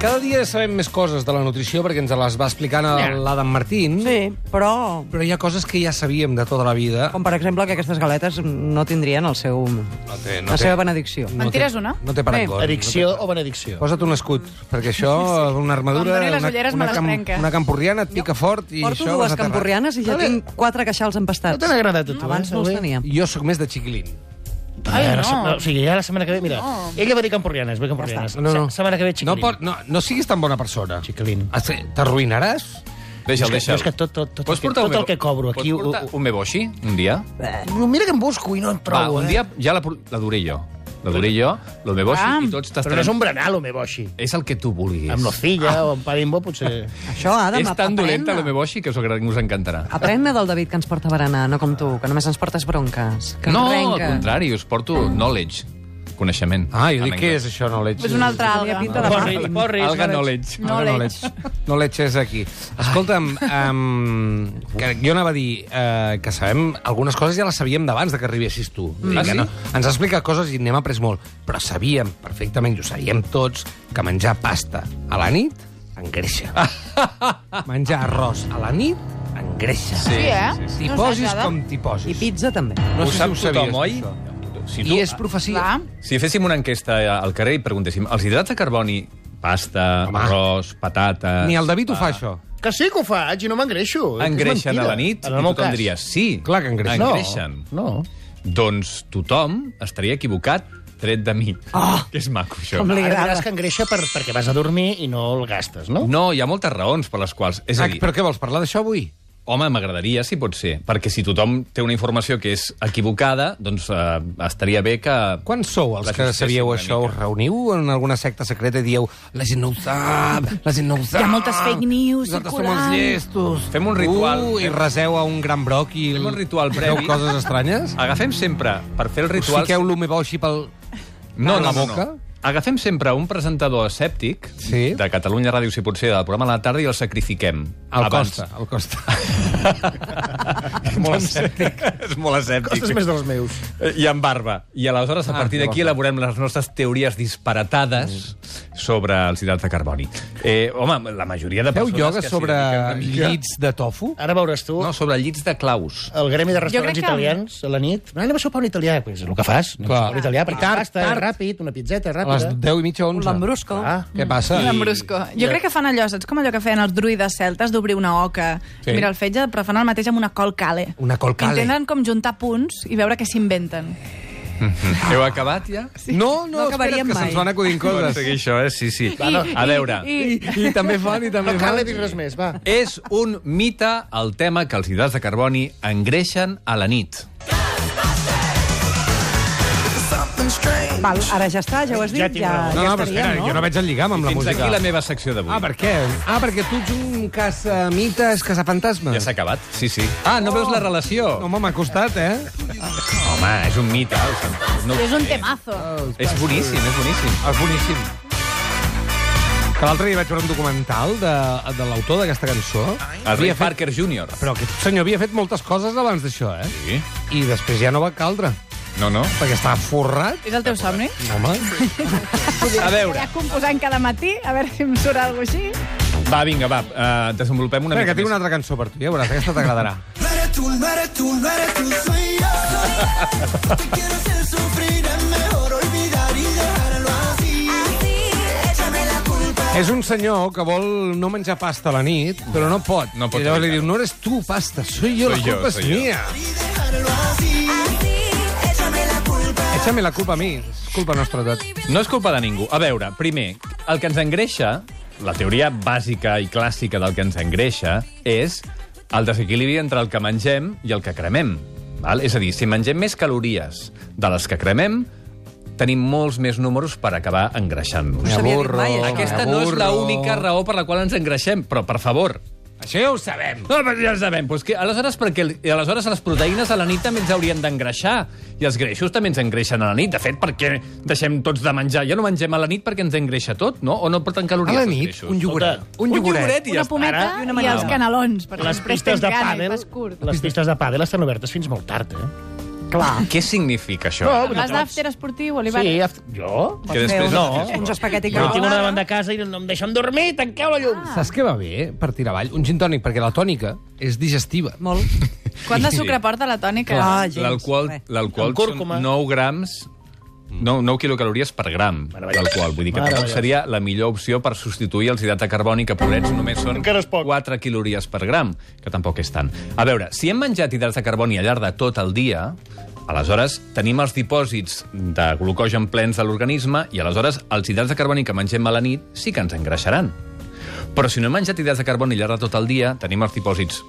Cada dia sabem més coses de la nutrició perquè ens les va explicant Ja. el- l'Adam Martín, Sí, però... però hi ha coses que ja sabíem de tota la vida. Com, per exemple, que aquestes galetes no tindrien el seu, no té, no la té. seva benedicció. No té, Mentires una. no té parangó. Edicció o benedicció? Posa't un escut, perquè això, una armadura, Quan doni les una, ulleres me una, les trenca. Porto això vas dues a terra. campurrianes i ja Vale. tinc quatre queixals No empastats. t'han agradat a tu, Abans eh, no els avui? tenia. Jo sóc més de xiquilín. Ai, Ara, no. se- Ah, O sigui, ja la setmana que ve, mira, No. ella va dir campurrianes, ve campurrianes. No, no. Se- Setmana que ve, No, xiquilín. pot, no, no siguis tan bona persona. Xiquilín. Ah, sí, T'arruïnaràs? És Deixa'l, que- deixa'l. és que tot- tot- tot el que- portar un tot el mebo- que cobro aquí, Pots portar ho- ho- un meboshi, un dia? No, Eh. mira que em busco i no en trobo, Va, un eh? dia ja la, por- la duré jo. La duré jo, el meboshi, Ah. i tots Però no t'estarem... és un berenar, lo meu, així. És el que tu vulguis. Amb nocilla o amb pa d'imbo, potser... Això, Adam, és tan aprèn-ne. eh? dolenta el meboshi que us, agra- us encantarà. Ah, Aprèn-ne del David que ens porta a berenar, no com tu, que només ens portes bronques. Que ens No, al renques. contrari, us porto knowledge, coneixement. Ah, jo dic, En què és anglès. això, no l'ets? És una altra Tenia alga. pinta de Porri, muffin. porri, Alga no knowledge. No Ara l'ets. No l'ets és aquí. Escolta'm, um, que jo anava a dir eh, que sabem... Algunes coses ja les sabíem d'abans de que arribessis tu. Mm. Ah, que sí? no, ens has explicat coses i n'hem après molt. Però sabíem perfectament, i ho sabíem tots, que menjar pasta a la nit engreixa. menjar arròs a la nit engreixa. Sí, eh? T'hi No posis saps, Adam? com t'hi I posis. pizza també. No ho sé si sap ho sabies, tothom, oi? això. Si I és profecia. Clar. Si féssim una enquesta al carrer i preguntéssim els hidrats de carboni, pasta, Home. Home. arròs, patates... Ni el David ho fa, això. Que sí que ho faig i no m'engreixo. És Engreixen mentida. a la nit En i el meu tothom cas. diria sí. Clar que engreixen. No, engreixen. no. Doncs tothom estaria equivocat tret de mi. Ah. Oh! Que és maco, això. Com li Ara agrada. diràs que engreixa per, perquè vas a dormir i no el gastes, no? No, hi ha moltes raons per les quals... És Ah, a dir, però què vols, parlar d'això avui? Home, m'agradaria, si pot ser, perquè si tothom té una informació que és equivocada, doncs eh, estaria bé que... Quan sou els La que justícia sabíeu una això? mica. Us reuniu en alguna secta secreta i dieu la gent no ho sap, la gent no ho sap. Hi ha moltes fake news Nosaltres som circulant." els llestos. Fem un ritual. Uh, I reseu a un gran broc i... Fem un ritual feu previ. coses estranyes? Agafem sempre, per fer el Ritual... ritual... Us fiqueu l'humeboshi pel... No, a la no, no, boca? no. Agafem sempre un presentador escèptic Sí. de Catalunya Ràdio, si pot ser, del programa a la tarda i el sacrifiquem. Al abans. Costa, al Costa. molt escèptic. és molt escèptic. Coses més dels meus. Eh, I amb barba. I aleshores, a partir d'aquí, elaborem les nostres teories disparatades sobre els hidrats de carboni. Eh, home, la majoria de Feu persones... ioga que s'hi sobre dediquen una mica- llits de tofu? Ara veuràs tu No, sobre llits de claus. el gremi de crec restaurants que- italians a la nit. No, anem a sopar un italià. Pues, és el que fas, anem Clar. a sopar un italià, perquè Tard, pasta, eh, tard. ràpid, una pizzeta, A les ràpida. 10 i mitja, 11. Un lambrusco. Ah. Què passa? Un lambrusco. Jo crec que fan allò, saps com allò que feien els druides celtes d'obrir una oca? Sí. Sí. Mira el fetge, però fan el mateix amb una col cale. Una col cale. Intenten com juntar punts i veure què s'inventen. Heu acabat, ja? No, no, No espera't, acabaríem que mai. se'ns van acudint Bueno, coses. seguir això, eh? Sí, sí. I- A veure, I, I, i, I també fan, i també No cal fan. dir res més, va. és un mite el tema que els hidrats de carboni engreixen a la nit. Val, ara ja està, ja ho has dit. Ja tinc Ja, raó. No, ja no, però espera, estaríem, jo no veig el lligam amb la Fins música. aquí la meva secció d'avui. Ah, per què? Ah, perquè tu ets un casamites, casafantasma. Ja s'ha acabat, sí, sí. Ah, no veus la relació? No, home, m'ha costat, eh? Home, és un mite. o sigui, No, I és un temazo. és boníssim, és boníssim. És boníssim. Que l'altre dia vaig veure un documental de, de l'autor d'aquesta cançó. El Ray Parker Jr. Però aquest senyor havia fet moltes coses abans d'això, eh? Sí. I després ja no va caldre, No, no. perquè estava forrat. És el teu somni? Home, A veure. Ja composant cada matí, a veure si em surt alguna cosa així. Va, vinga, va, uh, desenvolupem una Espera, que mica tinc una altra cançó per tu, ja veuràs, aquesta t'agradarà. Maratón, maratón, maratón, soy yo. Te quiero hacer sufrir, es mejor olvidar y dejarlo así. Échame la culpa. És un senyor que vol no menjar pasta a la nit, però no pot. No pot I llavors li evitar-ho. diu, no eres tu, pasta, soy yo, Soy la yo, culpa és soy yo. mia. Y dejarlo así. Échame la culpa. Échame la culpa a mi, és culpa nostra de tot. No és culpa de ningú. A veure, primer, el que ens engreixa, la teoria bàsica i clàssica del que ens engreixa, és el desequilibri entre el que mengem i el que cremem. Val? És a dir, si mengem més calories de les que cremem, tenim molts més números per acabar engreixant-nos. s'havia dit mai, això. Aquesta no és l'única raó per la qual ens engreixem, però, per favor, Això ja ho sabem. No, però ja ho sabem. Però és que, aleshores, perquè, i aleshores les proteïnes a la nit també ens haurien d'engreixar. I els greixos també ens engreixen a la nit. De fet, per què deixem tots de menjar? Ja no mengem a la nit perquè ens engreixa tot, no? O no porten A calories la els nit, greixos? un iogurt. Escolta, Un iogurt. i ja Una està. pometa Ara, i, i una els canelons, perquè Les després pistes tens de gana i pàdel, fas curt. les pistes de pàdel estan obertes fins molt tard, eh? Clar. Què significa això? No, Vas d'after esportiu, Oliver? Sí, af- jo? que després... No. Uns espagueti Jo tinc no. una davant de casa i no em deixen dormir, tanqueu la llum. Saps què va bé per tirar avall? Un gin tònic, perquè la tònica és digestiva. Molt. Quant de sucre porta la tònica? Ah, Clar. gens, L'alcohol res. l'alcohol Amb cúrcuma. són 9 grams 9, 9 quilocalories per gram d'alcohol. Vull dir que tampoc Meravellós. seria la millor opció per substituir els hidrats de carboni que pobrets només són Encara és poc. 4 calories per gram, que tampoc és tant. A veure, si hem menjat hidrats de carboni al llarg de tot el dia, aleshores tenim els dipòsits de glucogen plens de l'organisme i aleshores els hidrats de carboni que mengem a la nit sí que ens engreixaran. Però si no hem menjat hidrats de carboni al llarg de tot el dia, tenim els dipòsits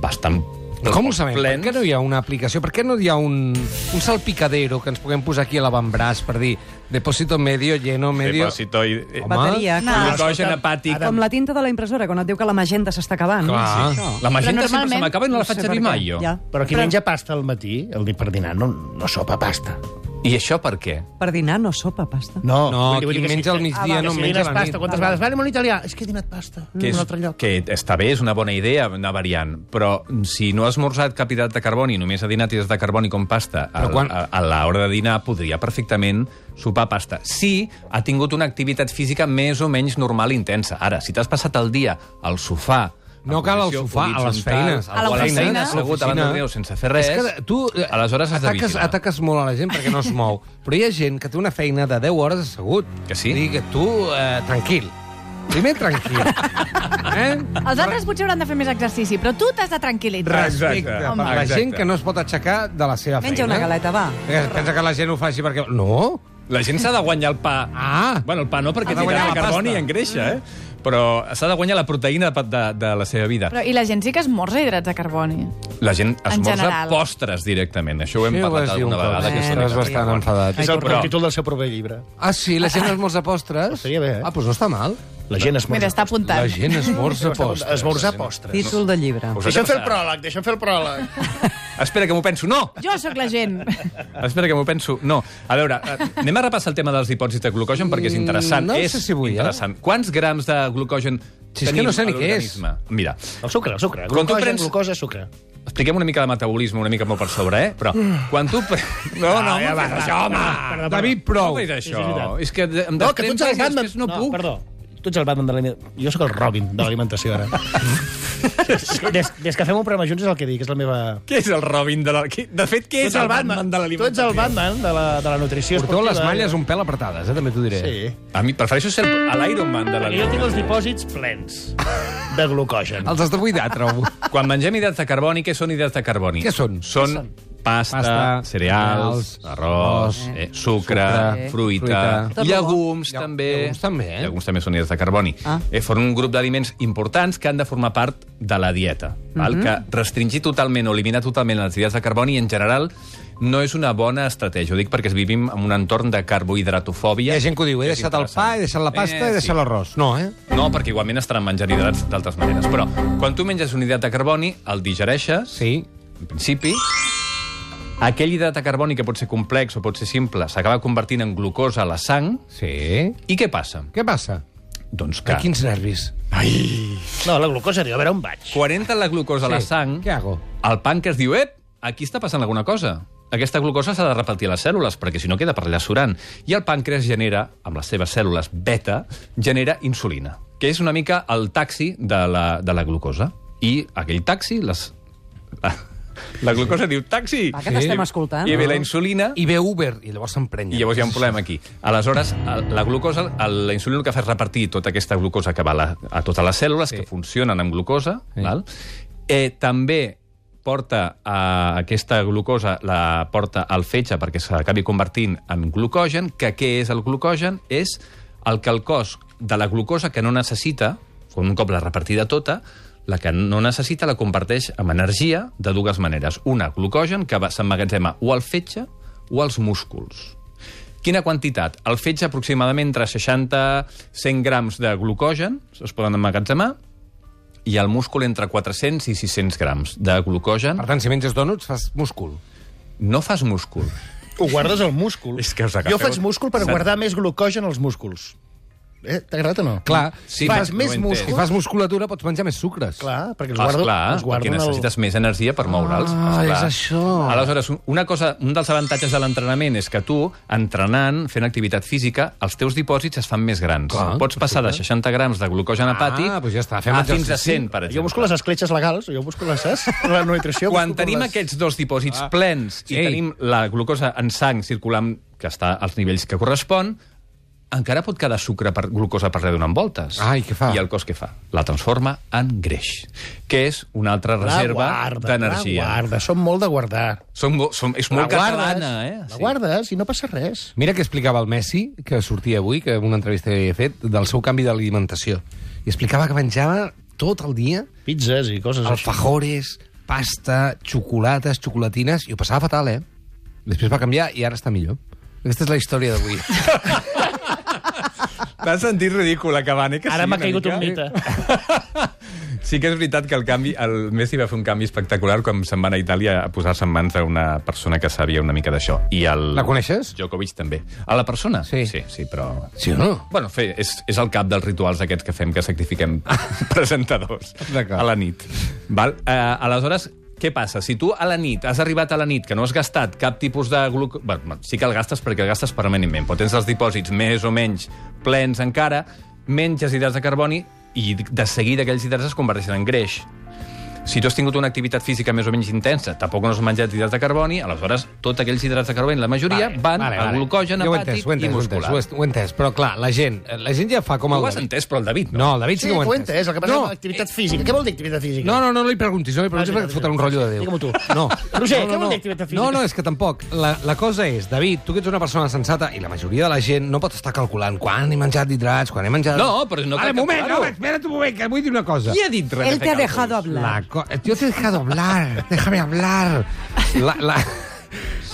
bastant Com ho sabem? plens. Per què no hi ha una aplicació? Per què no hi ha un, un salpicadero que ens puguem posar aquí a l'avantbraç per dir depòsito medio, lleno, medio... Depòsito i... Home. Bateria, No. clar. Glucogen hepàtic. Com la tinta de la impressora, quan et diu que la magenta s'està acabant. Clar. Sí, això. La magenta Però sempre se normalment- m'acaba i no la sé faig per servir què. mai, jo. Ja. Però qui menja pasta al matí, el di per dinar, no, no sopa pasta. I això per què? Per dinar no sopa, pasta. No, No, vull dir- vull qui dir que menja al migdia Ah, va, no que si menja dines a la nit. pasta, quantes vegades? Va, anem a un italià. És que he dinat pasta, Que, en un altre lloc. que està bé, és una bona idea, una variant, però si no has esmorzat cap hidrat de carboni, només ha dinat hidrat de carboni com pasta a, Però quan- a, a l'hora de dinar, podria perfectament sopar pasta. Si ha tingut una activitat física més o menys normal i intensa. Ara, si t'has passat el dia al sofà, en No cal al posició sofà, a les horitzontal, feines. A la o a les oficina. feines, segut davant d'un Oficina. greu sense fer res, És que tu eh, aleshores has de ataques, vigilar. ataques molt a la gent perquè no es mou. Però hi ha gent que té una feina de 10 hores assegut. Que sí? Vull dir que tu, eh, tranquil. Primer tranquil. eh? Els altres potser hauran de fer més exercici, però tu t'has de tranquil·litzar. Respecte per Home. la gent que no es pot aixecar de la seva Menja feina. una galeta, va. Que es pensa que la gent ho faci perquè... No! La gent s'ha de guanyar el pa. Ah! Bueno, el pa no, perquè Ha de té guanyar de la pasta. carboni Mm. i engreixa, eh? Però s'ha de guanyar la proteïna de, de, de la seva vida. Però, I la gent sí que esmorza hidrats de carboni. La gent esmorza general. postres directament. Això ho hem Sí, ho vas parlat dir un alguna cop. vegada. Sí, que és una Estàs mica bastant de carboni. enfadat. És el, Però- el títol del seu proper llibre. Ah, sí? La gent esmorza postres? Estaria bé, eh? Ah, doncs no està mal. La gent es Mira, està apuntant. La gent esmorza postres. Esmorzar postres. Títol de llibre. Us Deixa'm ha fer el passat? pròleg, deixa'm fer el pròleg. Espera, que m'ho penso. No! Jo sóc la gent. Espera, que m'ho penso. No. A veure, eh, anem a repassar el tema dels dipòsits de glucogen perquè és interessant. Mm, no és sé si vull, eh? interessant. Quants grams de glucogen Si és que tenim no sé ni a què és. l'organisme? Mira, El sucre, el sucre. Quan tu Glucosa, prens- glucosa, sucre. expliquem una mica de metabolisme, una mica molt per sobre, eh? Però quan tu... pre- No, no, ja va, fes va. això, home! Perdó, perdó. David, prou! No facis Sí, és això. veritat. És que em No, que tu ets desprenques el i Batman. després no puc. perdó. Tu ets el Batman de l'alimentació. Jo sóc el Robin de l'alimentació, ara. des, des que fem un programa junts és el que dic, és la meva... Què és el Robin de la... qui- De fet, què és el Batman de Tu ets l'alimentació? el Batman de la, de la nutrició Porteu les esportiva. eh? malles un pèl apretades, eh? també t'ho diré. Sí. A mi prefereixo ser el- l'Iron Man de Perquè jo tinc l'alimentació. els dipòsits plens de glucogen. Els has de ah, buidar, trobo. Quan mengem hidrats de carboni, què són hidrats de carboni? Què són? Són pasta, Pasta, cereals, cereals, arròs, arròs, eh, sucre, sucre, fruita, fruita. Tot llegums, bo. també. Llegums també, eh? Llegums també són hidrats de carboni. Ah. Eh, són un grup d'aliments importants que han de formar part de la dieta. Val? Mhm. Que restringir totalment o eliminar totalment els hidrats de carboni, en general, no és una bona estratègia. Ho dic perquè vivim en un entorn de Hi carbohidratofòbia. ha gent que ho diu, he És deixat el interessant. pa, he deixat la pasta, Eh, he sí. deixat l'arròs. No, eh? No, perquè igualment estaran menjant hidrats d'altres maneres. Però quan tu menges un hidrat de carboni, el digereixes, Sí. en principi, aquell hidrat de carboni que pot ser complex o pot ser simple s'acaba convertint en glucosa a la sang. Sí. I què passa? Què passa? Doncs A que quins nervis? No, la glucosa, diu, a veure on vaig. quan entra la glucosa a la Sí. sang, Què hago? el pàncreas diu, ep, aquí està passant alguna cosa. Aquesta glucosa s'ha de repartir a les cèl·lules, perquè si no queda per allà surant. I el pàncreas genera, amb les seves cèl·lules beta, genera insulina, que és una mica el taxi de la, de la glucosa. I aquell taxi, les... La glucosa diu, taxi! Va, que t'estem escoltant. I ve la insulina... I ve Uber i llavors s'emprenya. I llavors hi ha un problema aquí. Aleshores, el- la glucosa, el- la insulina el que fa és repartir tota aquesta glucosa que va a, la, a totes les cèl·lules, sí. que funcionen amb glucosa, Sí. sí. val? Eh, també porta a aquesta glucosa, la porta al fetge perquè s'acabi convertint en glucogen, que què és el glucogen? És el que el cos de la glucosa que no necessita, un cop la repartida tota, la que no necessita la converteix en energia de dues maneres. Una, glucogen, que va- s'emmagatzema o al fetge o als músculs. Quina quantitat? El fetge aproximadament entre 60 i 100 grams de glucogen es poden emmagatzemar i el múscul entre 400 i 600 grams de glucogen. Per tant, si menges dònuts, fas múscul. No fas múscul. Ho guardes al múscul. És que us agafeu- jo faig múscul per Exacte. guardar més glucogen als músculs. Eh? T'ha agradat o no? Clar, si Faig fas, més no ho entenc. si múscul... fas musculatura pots menjar més sucres. Clar, perquè els Clar, guardo... esclar, els guardo perquè en el- necessites més energia per moure'ls. Ah, esclar. és això. Aleshores, un- una cosa, un dels avantatges de l'entrenament és que tu, entrenant, fent activitat física, els teus dipòsits es fan més grans. Clar, Pots passar de 60 grams de glucosa en hepàtic Ah, doncs ja està, fem a fins a exercici. 100, per exemple. Jo busco les escletxes legals, jo busco les, saps? La nutrició... Quan busco com tenim les... aquests dos Ah, dipòsits plens i Ei. tenim la glucosa en sang circulant, que està als nivells que correspon, encara pot quedar sucre per glucosa per allà donant voltes. Ai, què fa? I el cos què fa? La transforma en greix, que és una altra La reserva guarda, La d'energia. guarda, som molt de guardar. Som, mo- som, és molt la guardes, catalana, eh? La guardes i no passa res. Mira que explicava el Messi, que sortia avui, que en una entrevista que he fet, del seu canvi d'alimentació. I explicava que menjava tot el dia Pizzas i coses així. Doncs alfajores, pasta, xocolates, xocolatines, i ho passava fatal, eh? Després va canviar i ara està millor. Aquesta és la història d'avui. T'has sentit ridícula, Cavani, que Ara m'ha caigut un mite. Sí que és veritat que el canvi, el Messi va fer un canvi espectacular quan se'n va anar a Itàlia a posar-se en mans d'una persona que sabia una mica d'això. I el... La coneixes? Djokovic també. A la persona? Sí. Sí, sí però... Sí o no? Bueno, fe, és, és el cap dels rituals aquests que fem, que sacrifiquem presentadors D'acord. a la nit. Val? Eh, aleshores, què passa? Si tu a la nit has arribat a la nit que no has gastat cap tipus de gluc... Bueno, sí que el gastes perquè el gastes permanentment, però tens els dipòsits més o menys plens encara, menges hidrats de carboni i de seguida aquells hidrats es converteixen en greix. Si tu has tingut una activitat física més o menys intensa, tampoc no has menjat hidrats de carboni, aleshores tots aquells hidrats de carboni, la majoria, vale, van vale, a glucogen Jo ho he entès, hepàtic ho he entès, i ho he muscular. entès, ho he entès, ho he entès, però clar, la gent, eh, la gent ja fa com Tu el ho has David. entès, però el David no. No, el David sí, Sí, que ho ho ha entès, el que passa no. és l'activitat física. Què vol dir activitat física? Eh, No, no, no, no li preguntis, no li preguntis Ah, sí, perquè et sí, fotrà sí. un rotllo de Déu. Digue-m'ho tu. No. Roger, no, què vol no. dir activitat física? No, no, és que tampoc. La, la cosa és, David, tu que ets una persona sensata i la majoria de la gent no pot estar calculant quan he menjat hidrats, quan he menjat... No, però no cal Ara, un moment, calcular-ho. no, espera't un moment, que vull dir una cosa. Qui ha dit res? de fer càlculs? La co- Yo te he dejado hablar, déjame hablar. La, la,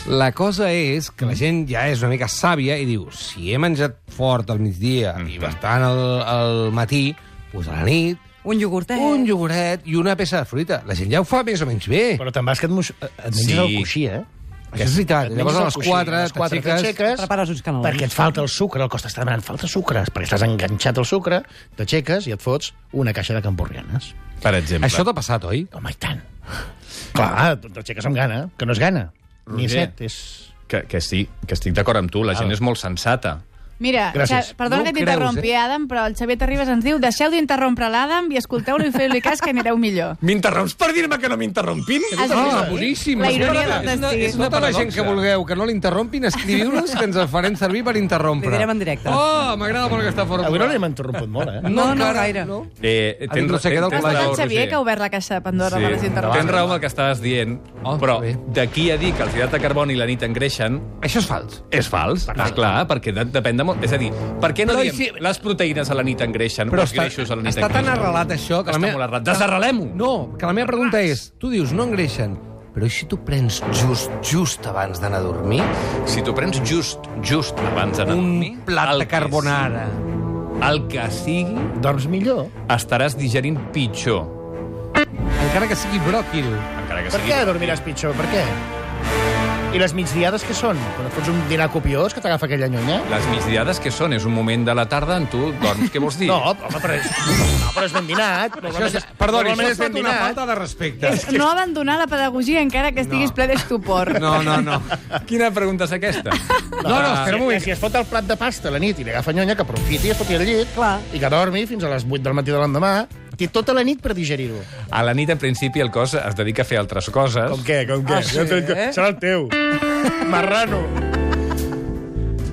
la cosa és que la gent ja és una mica sàvia i diu, si he menjat fort al migdia i bastant al, al matí, doncs a la nit, Un eh? iogurtet. un iogurt i una peça de fruita. La gent ja ho fa més o menys bé. Però te'n vas que et, muix... et menges Sí. el coixí, eh? Això és veritat. Et Llavors menges a el les coixí, 4 a les eh? quatre t'aixeques... Prepares eh? uns canelons. Perquè et falta el sucre, el cos t'està demanant, falta sucre, perquè estàs enganxat al sucre, t'aixeques i et fots una caixa de camporrianes. Per exemple. Això t'ha passat, oi? Home, i tant. Clar, t'aixeques amb gana, que no és gana. Ni Roger. set, és... Que, que sí, que estic d'acord amb tu, la gent és molt sensata. Mira, Gràcies. Xa- perdona No que ho t'interrompi, creus, eh? Adam, però el Xavier Terribas ens diu deixeu d'interrompre l'Adam i escolteu-lo i feu-li cas que anireu millor. M'interromps per dir-me que no m'interrompin? Has Ah. Ah, vist? La ironia del destí. una Tota la gent paradoxa. que vulgueu que no l'interrompin, escriviu-nos que ens el farem servir per interrompre. Li direm en directe. Oh, m'agrada molt aquesta forma. Avui no l'hem interromput molt, eh? No, no encara, gaire. Eh, Ha dit no sé què del Has Hola, deixat raó, Xavier Roger. que ha obert la caixa de Pandora per les Sí. Tens interromps. raó amb el que estaves dient, Oh, però bé. d'aquí a dir que els hidrats de carboni i la nit engreixen, Això és fals. és fals, és clar, perquè de, depèn de molt... És a dir, per què no Però i diem si- les proteïnes a la nit engreixen o els greixos a la nit està tan engreixen? arrelat això que Està la molt meva... arrelat. Desarrelem-ho! No, que la meva pregunta és, tu dius no engreixen, però i si tu prens just, just abans d'anar a dormir Si tu prens just, just abans d'anar a dormir... un plat el de que carbonara? sigui- El que sigui, Dorms millor. estaràs digerint pitjor. Encara que sigui bròquil. Encara que Per sigui... què dormiràs pitjor? Per què? I les migdiades què són? Quan et fots un dinar copiós que t'agafa aquella nyonya? Les migdiades que són? És un moment de la tarda en tu dorms, què vols dir? No, home, però és, no, però és ben dinat. Això és, perdoni, això ha estat una falta de respecte. No abandonar la pedagogia encara que estiguis No. ple d'estupor. No, no, no. Quina pregunta és aquesta? No, no, espera un moment. Ah. Si es fot el plat de pasta a la nit i li agafa nyonya, que aprofiti i es foti al llit Clar. i que dormi fins a les 8 del matí de l'endemà. Té tota la nit per digerir-ho. A la nit, en principi, el cos es dedica a fer altres coses. què, com què? Ah, sí, eh? Serà el teu. Marrano.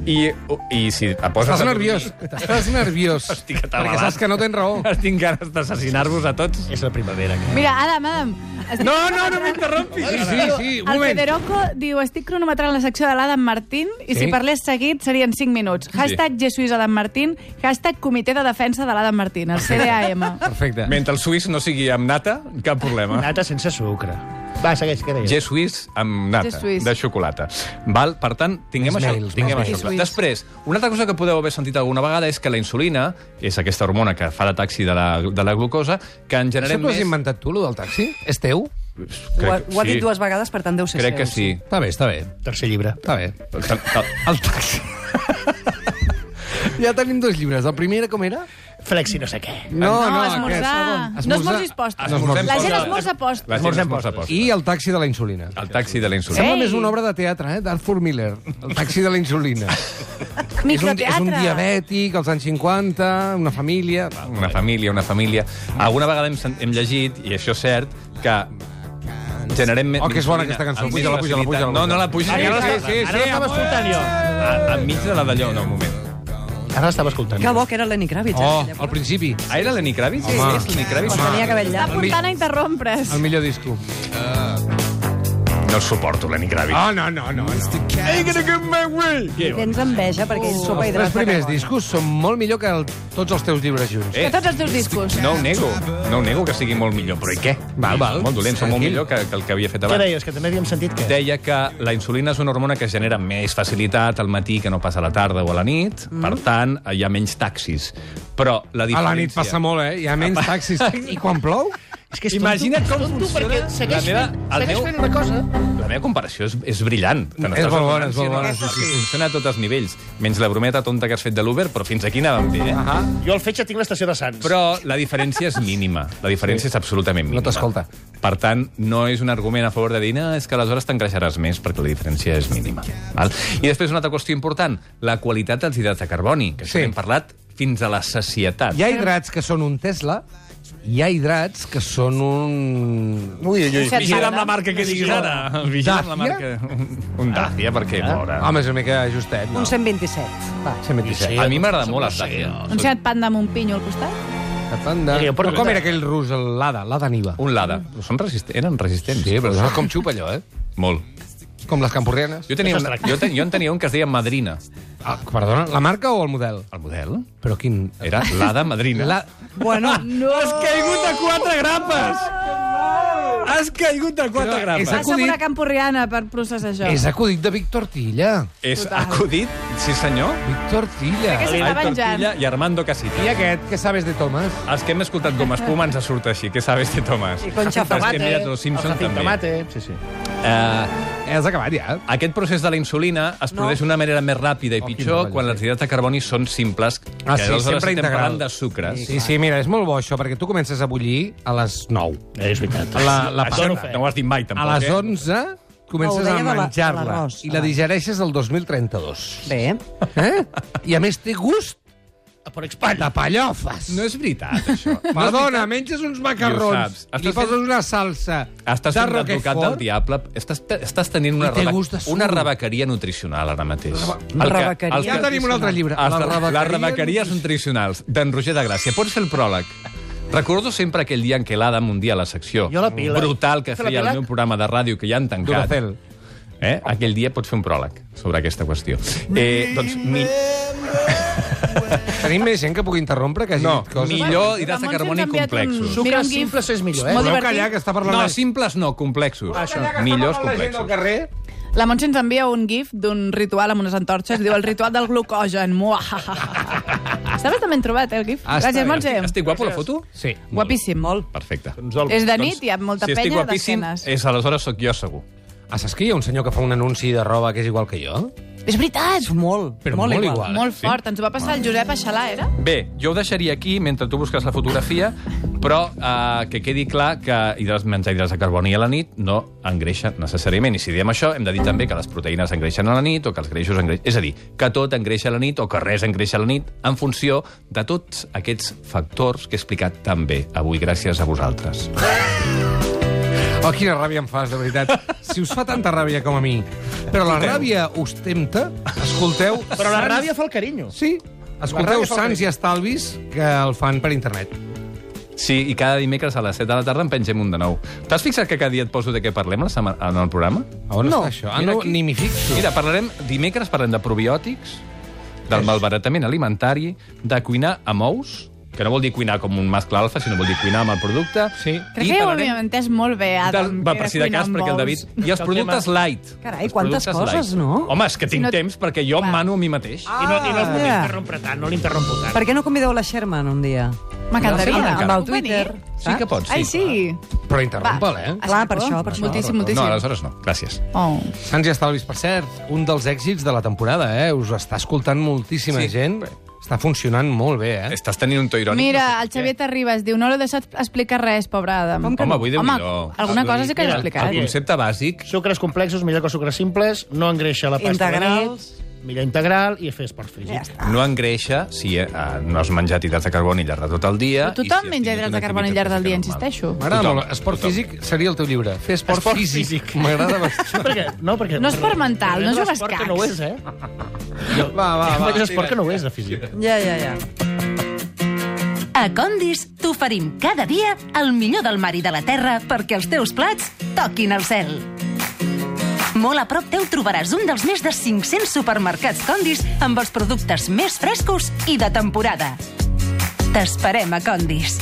I, I si et poses... Estàs a dormir- nerviós. Estàs nerviós. Estic atabalat. Perquè saps que no tens raó. Tinc ganes d'assassinar-vos a tots. És la primavera. Que... Mira, Adam, Adam... estic No, no, no m'interrompis! Sí, sí, sí, un El moment. Federoco diu, estic cronometrant la secció de l'Adam Martín i Sí. si parlés seguit serien 5 minuts. Hashtag Jesuís Adam Martín, hashtag Comitè de Defensa de l'Adam Martín, el CDAM. Perfecte. Mentre el suís no sigui amb nata, cap problema. Nata sense sucre. Va, segueix, què deies? Gés suís amb nata, Gés suís. de xocolata. Val? Per tant, tinguem Més això, mails, tinguem més això clar. mails. Després, una altra cosa que podeu haver sentit alguna vegada és que la insulina, és aquesta hormona que fa de taxi de la, de la glucosa, que en Això generem t'ho has més... inventat tu, lo del taxi? És teu? Ho ha, Crec que ho ha sí. dit dues vegades, per tant deu ser Crec eh? seu, que sí. Està bé, està bé. Tercer llibre. Està bé. El, el, el taxi... Ja tenim dos llibres. El primer era com era? Flexi no sé què. No, aquest. esmorzar. No esmorzis postres. Esmorzar. La gent esmorza postres. La gent esmorza postres. I el taxi de la insulina. El taxi de la insulina. Sembla Ei! més una obra de teatre, eh? d'Arthur Miller. El taxi de la insulina. és, un, és Microteatre. un diabètic, als anys 50, una família... Una família, una família... Alguna vegada hem, sent- hem llegit, i això és cert, que generem... me- Oh, que és bona insulina aquesta cançó. enmig de Puja-la, puja-la, puja-la, No, no la Ah, pugis. ja Ara la la sé, sí, Ara sí, l'estava escoltant jo. Enmig de la d'allò, no, un moment. Ara l'estava escoltant Que jo. bo que era Lenny Kravitz. Oh, Eh? al principi, Ah, era l'Eni Kravitz? Sí, Home. és l'Eni Kravitz. Quan tenia cabell Està llarg. apuntant a interrompre's. el millor disco. No el suporto, l'Eni Kravitz. Oh, no, no, no. no. Oh. I Tens enveja perquè ell sopa Els tres hidrata. primers que vol. discos són molt millor que el, tots els teus llibres junts. De tots els teus discos. Eh, No ho nego, no ho nego que sigui molt millor, però i què? Val, val. Molt dolent, són molt Tranquil. millor que, que el que havia fet Què abans. deies? Que també havíem sentit que... Deia que la insulina és una hormona que es genera amb més facilitat al matí que no passa a la tarda o a la nit, per tant, hi ha menys taxis. Però Mm. A la diferència... la nit passa molt, eh? Hi ha menys taxis. I quan plou? És que és Imagina't com tonto, funciona perquè la segueix, meva- fent, el segueix meu- fent una cosa. La meva comparació és, és brillant. Te n'estàs És molt bona, adonant, és molt sí, no? bona, Aquesta sí, sí. Funciona a tots els nivells, menys la brometa tonta que has fet de l'Uber, però fins aquí anàvem bé, eh? Ah, Jo al fetge tinc l'estació de Sants. Però la diferència és mínima. La diferència és absolutament mínima. No t'escolta. Per tant, no és un argument a favor de dir no, és que aleshores t'engreixaràs més perquè la diferència és mínima. Val? I després una altra qüestió important, la qualitat dels hidrats de carboni, que Sí. sí. hem parlat fins a la sacietat. hi ha hidrats que són un Tesla, hi ha hidrats que són un... Ui, ui, Set Vigila Ah, eh? amb parda. la marca que diguis ara. Vigila amb la Dàcia? marca. Un Dàcia, perquè mora. Home, és una mica justet, no? Un 127. Va. 127. A mi m'agrada molt la Dàcia. Un set panda amb un pinyo al costat. Panda. Sí, jo porto- Com era aquell rus, el- l'Ada, l'Ada Niva? Un Lada. Però són resistents, eren resistents. Sí, però saps com xupa allò, eh? Molt. Com les camporrianes. Jo, tenia Això un, es tracta. jo, ten, jo en tenia un que es deia Madrina. Ah, perdona, la marca o el model? El model Però quin... era l'Ada Madrina. La... Bueno, no. Has caigut a quatre grapes! Has caigut a quatre Però grapes! és Passa acudit. una campurriana per processar això. és acudit de Víctor Tilla. És acudit, sí senyor. Víctor Tilla. Aquest- S'està Ai, venjant. Tortilla i Armando Casita. I aquest, què sabes de Tomàs? Els que hem escoltat com espuma ens surt així. Què sabes de Tomàs? I Concha Els que Tomate. hem mirat els Simpson Jacint també. Tomate. Sí, sí. Eh, Has acabat ja. aquest procés de la insulina es No. produeix d'una manera més ràpida i Oh, pitjor quin quan rotllo, les hidrats de carboni són simples, que Ah, sí, aleshores sempre estem integral. parlant de sucres. Sí, sí, mira, és molt bo això, perquè tu comences a bullir a les 9. Eh, és veritat. La, la Això pasta. no, no ho has dit mai, tampoc. a les eh? 11 Ah, ho comences deia a de la- de menjar-la l'arròs. i la Ah. digereixes el 2032. Bé. Eh? I a més té gust Per Espanya. de pallofes. No és veritat, això. Perdona, menges uns I ho macarrons saps. i li Estàs poses una salsa de Estàs fent l'advocat del roquefort. diable. Estàs, estàs tenint una, I té gust de suc. una rebequeria nutricional ara mateix. Una rebequeria. Ja tenim un altre llibre. Les, rebequeries... les rebequeries- rebequeries nutricionals, d'en Roger de Gràcia. Pots fer el pròleg. Recordo sempre aquell dia en què l'Adam un dia a la secció Jo la pila. brutal que Fer la feia el pila? meu programa de ràdio que ja han tancat. Duracell. Eh? Aquell dia pots fer un pròleg sobre aquesta qüestió. Eh, doncs, mi... Tenim més gent que pugui interrompre que hagi No, dit coses. millor La hidrats de Montse carboni ens ha enviat complexos. un- Mira, Sucres gif. simples és millor, eh? Molt Podeu divertit. callar, que està parlant No, la gent. simples no, complexos. Callar, que està Millors parlant la gent al complexos. carrer. La Montse ens envia un gif d'un ritual amb unes antorxes i diu el ritual del glucogen. Està bastant ben trobat, eh, el gif? Ah, està Gràcies, bé. Montse. Estic guapo, la foto? Sí. Guapíssim. Molt. Perfecte. És de nit i hi ha molta Doncs si estic penya guapíssim, d'esquenes. és aleshores sóc jo segur. Ah, saps que hi ha un senyor que fa un anunci de roba que és igual que jo? És veritat! És molt, Però molt, molt igual. igual. Molt fort. Ens ho va passar el Josep a Xalà, era? Bé, jo ho deixaria aquí mentre tu busques la fotografia, però eh, que quedi clar que hidrats, menjar hidrats de carboni a la nit no engreixa necessàriament. I si diem això, hem de dir també que les proteïnes engreixen a la nit o que els greixos engreixen... És a dir, que tot engreixa a la nit o que res engreixa a la nit en funció de tots aquests factors que he explicat també avui gràcies a vosaltres. Oh, quina ràbia em fas, de veritat. Si us fa tanta ràbia com a mi, però la ràbia us tempta, escolteu... Però la Sants- ràbia fa el carinyo. Sí, escolteu ràbia fa el Sants i Estalvis, que el fan per internet. Sí, i cada dimecres a les 7 de la tarda en pengem un de nou. T'has fixat que cada dia et poso de què parlem la setmana- en el programa? A on no. està això? Ah, Mira no, aquí. ni m'hi fixo. Mira, parlarem, dimecres parlem de probiòtics, del malbaratament alimentari, de cuinar amb ous, que no vol dir cuinar com un mascle alfa, sinó vol dir cuinar amb el producte. Sí. Crec que ho havíem entès molt bé, del, Adam. va, que per si era de cas, cuinar perquè el amb David... ous. I els productes light. Carai, Els quantes productes coses, no? Home, és que tinc no- temps perquè jo em Va. mano a mi mateix. I no, i no us puc Ah. interrompre tant, no l'interrompo tant. Per què no convideu la Sherman un dia? M'encantaria. Gràcies, Blanca. Amb el Puc venir? Twitter. Sí que pots, sí. Ai, sí. Però interrompa-la, eh? Clar, per això, per això. Moltíssim, moltíssim. No, aleshores no. Gràcies. Oh. Sants i Estalvis, per cert, un dels èxits de la temporada, eh? Us està escoltant moltíssima Sí. gent. Està funcionant molt bé, eh? Estàs tenint un to irònic. Mira, no el sé per Xavier Terribas diu no l'he deixat explicar res, pobre Adam. què. Home, avui déu Home, nhi alguna cosa sí que l'he explicar. explicat. El concepte bàsic... Sucres complexos, millor que sucres simples, no engreixa la pasta Integrals. de nit, millor integral i fes per fregir. Ja està. No engreixa si eh, no has menjat hidrats de carboni al llarg de tot el dia... Però tothom i si has menja tingut hidrats una de carboni al activitat llarg del dia, física normal. insisteixo. M'agrada Tothom, molt. Esport tothom. físic seria el teu llibre. Fer esport, Esport físic. físic. M'agrada bastant. Perquè, no, perquè... No és per mental, no és un jugues esport cacs. Que no ho és, eh? Va, va, va. Vaig esport que no ho és, de físic. Ja, ja, ja. A Condis t'oferim cada dia el millor del mar i de la terra perquè els teus plats toquin el cel. Molt a prop teu trobaràs un dels més de 500 supermercats Condis amb els productes més frescos i de temporada. T'esperem a Condis.